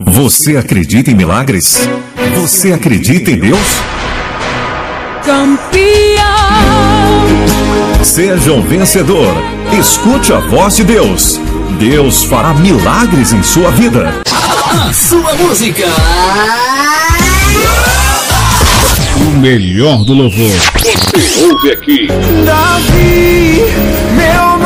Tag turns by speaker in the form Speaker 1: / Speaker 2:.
Speaker 1: Você acredita em milagres? Você acredita em Deus?
Speaker 2: Campeão!
Speaker 1: Seja um vencedor. Escute a voz de Deus. Deus fará milagres em sua vida.
Speaker 3: A sua música.
Speaker 4: O melhor do louvor.
Speaker 5: Você ouve aqui.
Speaker 6: Davi, meu é